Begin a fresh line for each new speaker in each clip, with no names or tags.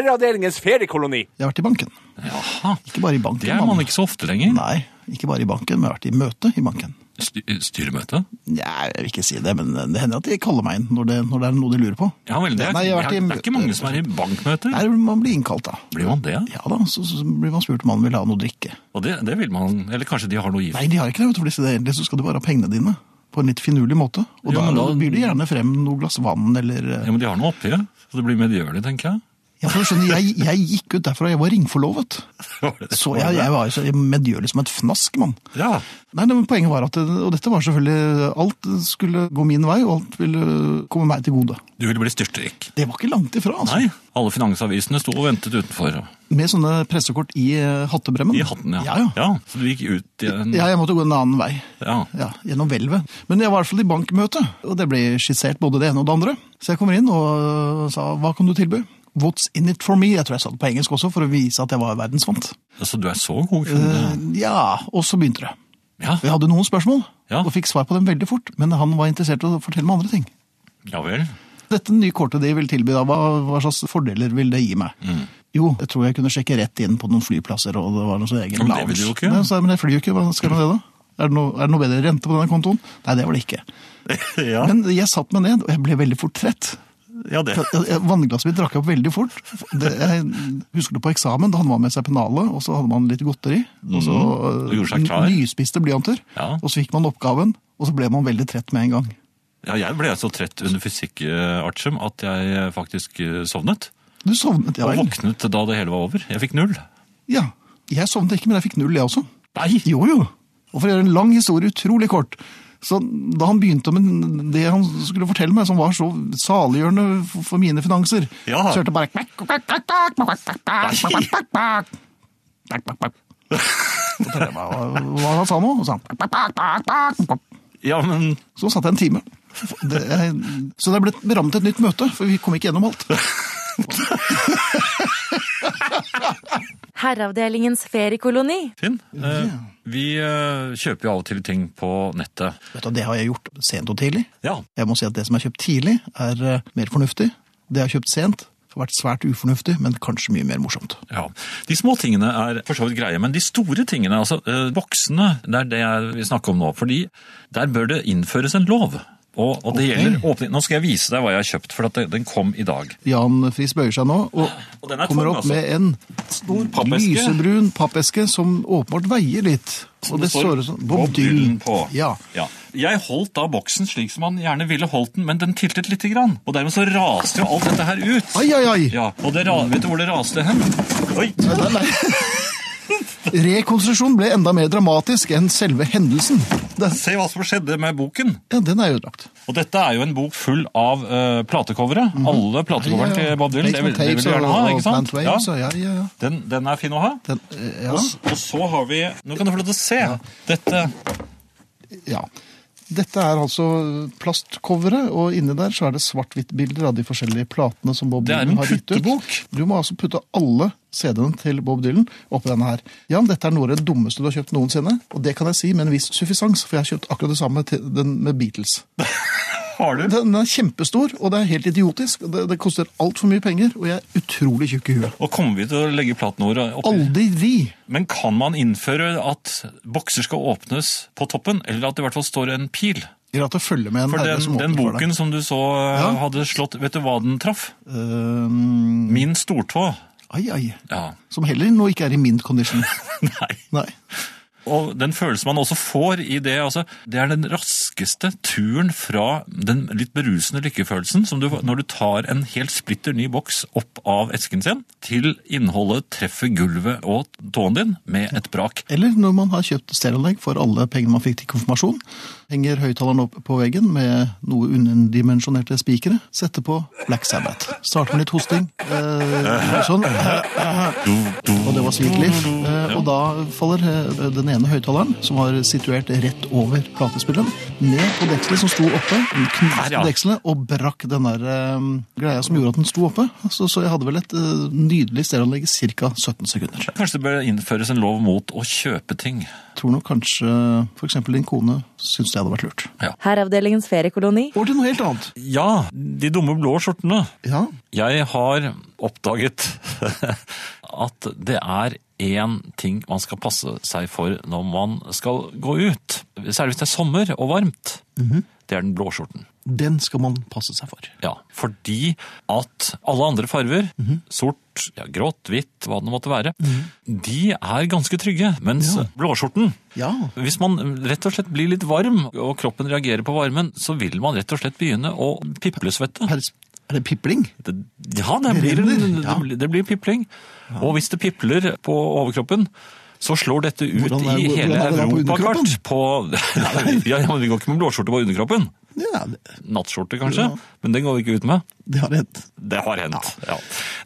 Herreavdelingens feriekoloni.
Jeg har vært i banken.
Jaha.
Ikke bare i banken.
Det er man
mann.
ikke så ofte lenger.
Nei, ikke bare i banken, men jeg har vært i møte i banken.
Sty- eh, Styremøte?
Nei, jeg vil ikke si det, men det hender at de kaller meg inn når det, når det er noe de lurer på.
Ja vel, det er,
Nei, jeg har vært i
det er- det er ikke
møte.
mange som er i bankmøter.
Der man blir innkalt da.
Blir man det?
Ja da, så, så blir man spurt om man vil ha noe å drikke.
Og det, det vil man Eller kanskje de har noe gift?
Nei, de har ikke det, vet du, for disse- egentlig så skal de bare ha pengene dine. På en litt finurlig måte. Og
Jo,
da,
men da-
byr de gjerne frem noe glass vann eller eh,
Ja, men de har noe oppi, så det blir medgjørlig, tenker jeg.
Ja, for du skjønner, jeg, jeg gikk ut derfra, jeg var ringforlovet. Så jeg, jeg var så medgjørlig som et fnask, mann.
Ja.
Nei, det, men Poenget var at det- Og dette var selvfølgelig Alt skulle gå min vei, og alt ville komme meg til gode.
Du ville bli styrtrik.
Det var ikke langt ifra, altså.
Nei. Alle finansavisene sto og ventet utenfor.
Med sånne pressekort i eh, hattebremmen.
I hatten, ja.
Ja, ja.
Så du gikk ut i en
Ja, jeg måtte gå en annen vei.
Ja.
Ja, Gjennom hvelvet. Men jeg var i hvert fall i bankmøte, og det ble skissert både det ene og det andre. Så jeg kommer inn og eh, sa hva kan du tilby? What's in it for me? Jeg tror jeg sa det på engelsk også, for å vise at jeg var verdensvant.
Så du er så god i
Eh,
kjole?
ja, og så begynte det.
Ja.
Jeg hadde noen spørsmål,
Ja.
og fikk svar på dem veldig fort, men han var interessert i å fortelle meg andre ting.
ja vel.
Dette nye kortet de vil tilby, da, hva, hva slags fordeler vil det gi meg?
Mm.
Jo, jeg tror jeg kunne sjekke rett inn på noen flyplasser, og det var noe så egen
Men det vil du jo ikke.
Nei, så, men jeg flyr jo ikke, hva skal jeg med det da? Er det, noe, er det noe bedre rente på denne kontoen? Nei, det var det ikke.
Ja,
Men jeg satt meg ned, og jeg ble veldig fort trett.
ja det.
Jeg- jeg- Vannglasset mitt drakk opp veldig fort. Det, jeg husker det på eksamen, da hadde man med seg pennalet, og så hadde man litt godteri. Og så
Mm. Og gjorde seg
n-
klar.
nyspiste blyanter.
Ja.
Og så fikk man oppgaven, og så ble man veldig trett med en gang.
Ja, jeg ble så trett under fysikk-artium at jeg faktisk eh, sovnet.
Du sovnet, ja
Og
vel?
våknet da det hele var over. Jeg fikk null.
Ja. Jeg sovnet ikke, men jeg fikk null, jeg også.
Nei!
Jo, jo. Og for å gjøre en lang historie utrolig kort. Så da han begynte med det han skulle fortelle meg, som var så saliggjørende for- for mine finanser,
Ja.
så hørte jeg bare kvekk, kvekk, kvekk, kvekk, kvekk, kvekk, kvekk, kvekk, kvekk, kvekk. Kvekk, kvekk, kvekk. Så tenkte jeg, Hva hva han sa nå? Og sa han, kvekk, kvekk, kvekk, kvekk, kvekk.
Ja, men
Så satt jeg en time. Det, jeg, så det ble berammet et nytt møte, for vi kom ikke gjennom alt.
Herreavdelingens feriekoloni.
Finn, eh, vi eh, kjøper jo av og til ting på nettet.
Vet du, Det har jeg gjort sent og tidlig.
Ja,
Jeg må si at det som er kjøpt tidlig, er eh, mer fornuftig. Det jeg har kjøpt sent, har vært svært ufornuftig, men kanskje mye mer morsomt.
Ja. De små tingene er for så vidt greie, men de store tingene, altså eh, voksne, det er det jeg vil snakke om nå. Fordi der bør det innføres en lov. Og, og det
Ok.
gjelder åpning. Nå skal jeg vise deg hva jeg har kjøpt, for at det, den kom i dag.
Jan Friis bøyer seg nå, og,
Og den er
kommer
tung,
opp
altså.
med en
Stor
lysebrun pappeske som åpenbart veier litt. Og det står sånn Bob Dylan
på.
Ja.
Ja. Jeg holdt da boksen slik som man gjerne ville holdt den, men den tiltet lite grann. Og dermed så raste jo alt dette her ut.
Ai, ai, ai!
Ja, og det,
Mm.
ra- vet du hvor det raste hen? Oi!
Nei, nei. Rekonstruksjonen ble enda mer dramatisk enn selve hendelsen. Den,
Se hva som skjedde med boken.
ja, den er ødelagt.
Og dette er jo en bok full av uh, platecovere. Alle platecoverne
Mm. Ja, ja.
til Bob Dylan. Det,
Placement
vil- det vil
tapes
du gjerne
og-
ha,
og
ikke sant?
Plant Waves,
Ja.
og- ja, ja, ja.
Den, den er fin å ha.
Den, eh, ja.
Og, s- og så har vi Nå kan du få lov til å se. Dette
Ja. Dette er altså plastcoveret, og inni der så er det svart-hvitt-bilder av de forskjellige platene som Bob
Det er
Dylan
en
har gitt ut.
puttebok.
Du må altså putte alle CD-ene til Bob Dylan oppi denne her. Jan, dette er noe av det dummeste du har kjøpt noensinne, og det kan jeg si med en viss suffisans, for jeg har kjøpt akkurat det samme til den med Beatles.
har du.
Den er kjempestor, og det er helt idiotisk. og Det, det koster altfor mye penger, og jeg er utrolig tjukk i huet.
Og kommer vi til å legge platen vår oppi?
Aldri!
Men kan man innføre at bokser skal åpnes på toppen, eller at det i hvert fall står en pil?
Eller at det følger med en
For
herre
den,
som
den
åpner for deg.
boken som du så eh,
Ja.
hadde slått Vet du hva den traff?
Øhm,
Min stortå.
Ehm, ai, ai.
Ja.
Som heller nå ikke er i mint condition.
Nei.
Nei.
Og den følelsen man også får i det, altså, det er den raskeste turen fra den litt berusende lykkefølelsen som du, når du tar en helt splitter ny boks opp av esken sin, til innholdet treffer gulvet og tåen din med et brak.
Eller når man har kjøpt stereoanlegg for alle pengene man fikk til konfirmasjon, henger høyttaleren opp på veggen med noe underdimensjonerte spikere, setter på Black Sabbath. Starter med litt hosting. Eh, sånn. Og det var Sweet Leaf. Eh, og da faller eh, den ene høyttaleren, som var situert rett over platespilleren, ned på dekselet som sto oppe. Den
Her,
knuste
ja.
dekselet og brakk den der eh, greia som gjorde at den sto oppe. Så, så jeg hadde vel et eh, nydelig stereoanlegg i ca. 17 sekunder.
Kanskje det bør innføres en lov mot å kjøpe ting.
Jeg tror nok kanskje f.eks. din kone syns det hadde vært lurt.
Herreavdelingens feriekoloni.
Over til noe helt annet.
Ja, de dumme blå skjortene.
Ja,
Jeg har oppdaget at det er én ting man skal passe seg for når man skal gå ut. Særlig hvis det er sommer og varmt. Det er den blå skjorten.
den skal man passe seg for.
Ja, fordi at alle andre farver, sort, ja, grått, hvitt, hva det måtte være, de er ganske trygge. Mens blåskjorten,
Ja,
hvis man rett og slett blir litt varm, og kroppen reagerer på varmen, så vil man rett og slett begynne å piplesvette.
her, er det pipling?
Det, ja, det blir, en-
renner, ja.
det blir- det blir pipling. Og hvis det pipler på overkroppen, så slår dette ut
Hvordan er-
i
hvordan
hele
er det da på
Europakart. På, Nei, ja, ja, men vi går ikke med blåskjorte på underkroppen.
Ja, det,
Nattskjorte kanskje, men den går vi ikke ut med.
det har hendt.
Det har hendt, ja.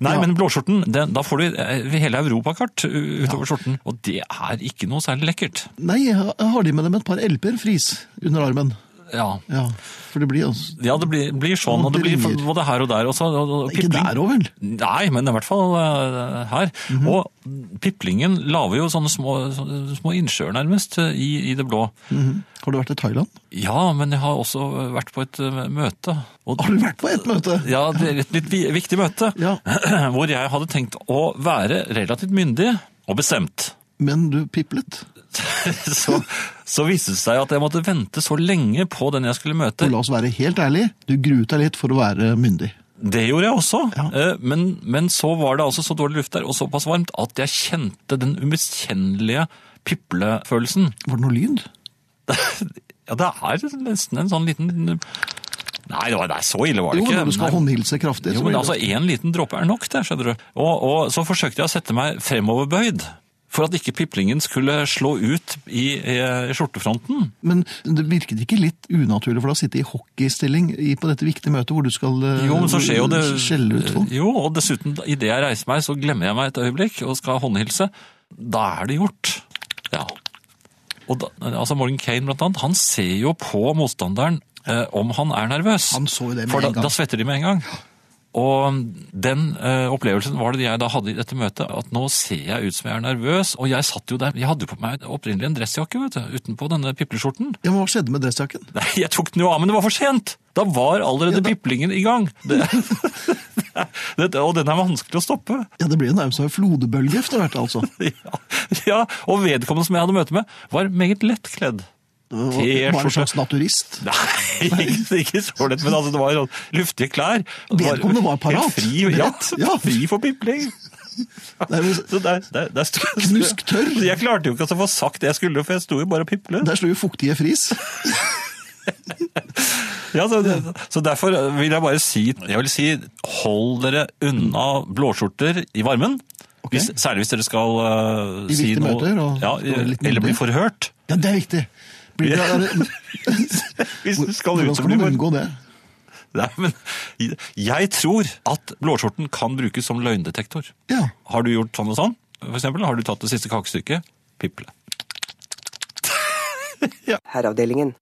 Nei,
Ja.
men blåskjorten, den, da får du eh, hele europakart u- utover skjorten, og det er ikke noe særlig lekkert.
Nei, jeg har- jeg har de med dem et par LP-er fris under armen.
Ja,
Ja, for det blir altså
ja det blir, blir sånn, og det blir
Ringer.
både her og der også. Og, og
Ikke
pipling-
der òg, vel?
Nei, men i hvert fall eh, her.
Mhm.
Og piplingen laver jo sånne små, sånne små innsjøer nærmest eh, i, i det blå.
Mhm. Har du vært i Thailand?
Ja, men jeg har også vært på et eh, møte. Og,
Har du vært på et møte?
ja, det er et litt vi- viktig møte,
Ja.
hvor jeg hadde tenkt å være relativt myndig og bestemt.
Men du piplet.
så, så viste det seg at jeg måtte vente så lenge på den jeg skulle møte.
Og la oss være helt ærlige, du gruet deg litt for å være myndig.
Det gjorde jeg også,
Ja.
Eh, men, men så var det altså så dårlig luft der og såpass varmt at jeg kjente den umiskjennelige piplefølelsen.
Var det noe lyd?
Ja, det er nesten en sånn liten Nei, det var, nei så ille var det
Jo,
ikke.
når du skal
Nei.
håndhilse kraftig.
Jo,
så
men
blir
altså,
det-
én liten dråpe er nok, det, skjønner du. Og, og så forsøkte jeg å sette meg fremoverbøyd. For at ikke piplingen skulle slå ut i, eh, skjortefronten.
Men det virket ikke litt unaturlig for deg å sitte i hockeystilling i- på dette viktige møtet hvor du skal eh,
Jo, men så skjer jo det
skjelle ut folk?
Jo, og dessuten, idet jeg reiser meg, så glemmer jeg meg et øyeblikk og skal håndhilse. Da er det gjort. Ja. Og da, altså Morgan Kane, blant annet, han ser jo på motstanderen eh, om han er nervøs.
Han så jo det med
For da,
en gang.
da svetter de med en gang. Og den eh, opplevelsen var det jeg da hadde i dette møtet, at nå ser jeg ut som jeg er nervøs, og jeg satt jo der, jeg hadde jo på meg opprinnelig en dressjakke, vet du, utenpå denne pipleskjorten.
Ja, men Hva skjedde med dressjakken?
Nei, jeg tok den jo av, men det var for sent. Da var allerede
Ja, da-
piplingen i gang. Det, det, og den er vanskelig å stoppe.
Ja, Det ble jo nærmest en flodbølge etter hvert, altså.
Ja, ja, og vedkommende som jeg hadde møte med, var meget lettkledd.
Det Var en
T-skjorte.
slags naturist.
Nei, ikke, ikke så lett, men altså, det var sånn luftige klær. Det
Vedkommende var parat.
Helt fri, ja,
Rett, ja.
fri for pipling.
Nærmest
Så der, der, der sto,
Knusktørr.
Jeg klarte jo ikke å få sagt det jeg skulle, for jeg sto jo bare og piplet.
Der slo jo fuktige fris.
Ja, så, så derfor vil jeg bare si, jeg vil si hold dere unna blåskjorter i varmen.
Ok.
Hvis, særlig hvis dere skal eh,
I
si
viktige
noe.
møter og-
ja,
og litt
eller bli
mindre.
forhørt.
Ja, det er viktig. Blir det,
Ja.
er det,
Hvis du skal
hvordan
ut og
skal
bli
man
forhørt.
unngå det?
Nei, men jeg tror at blåskjorten kan brukes som løgndetektor.
Ja.
Har du gjort sånn og sånn? For eksempel, har du tatt det siste kakestykket? Piple.
Herreavdelingen.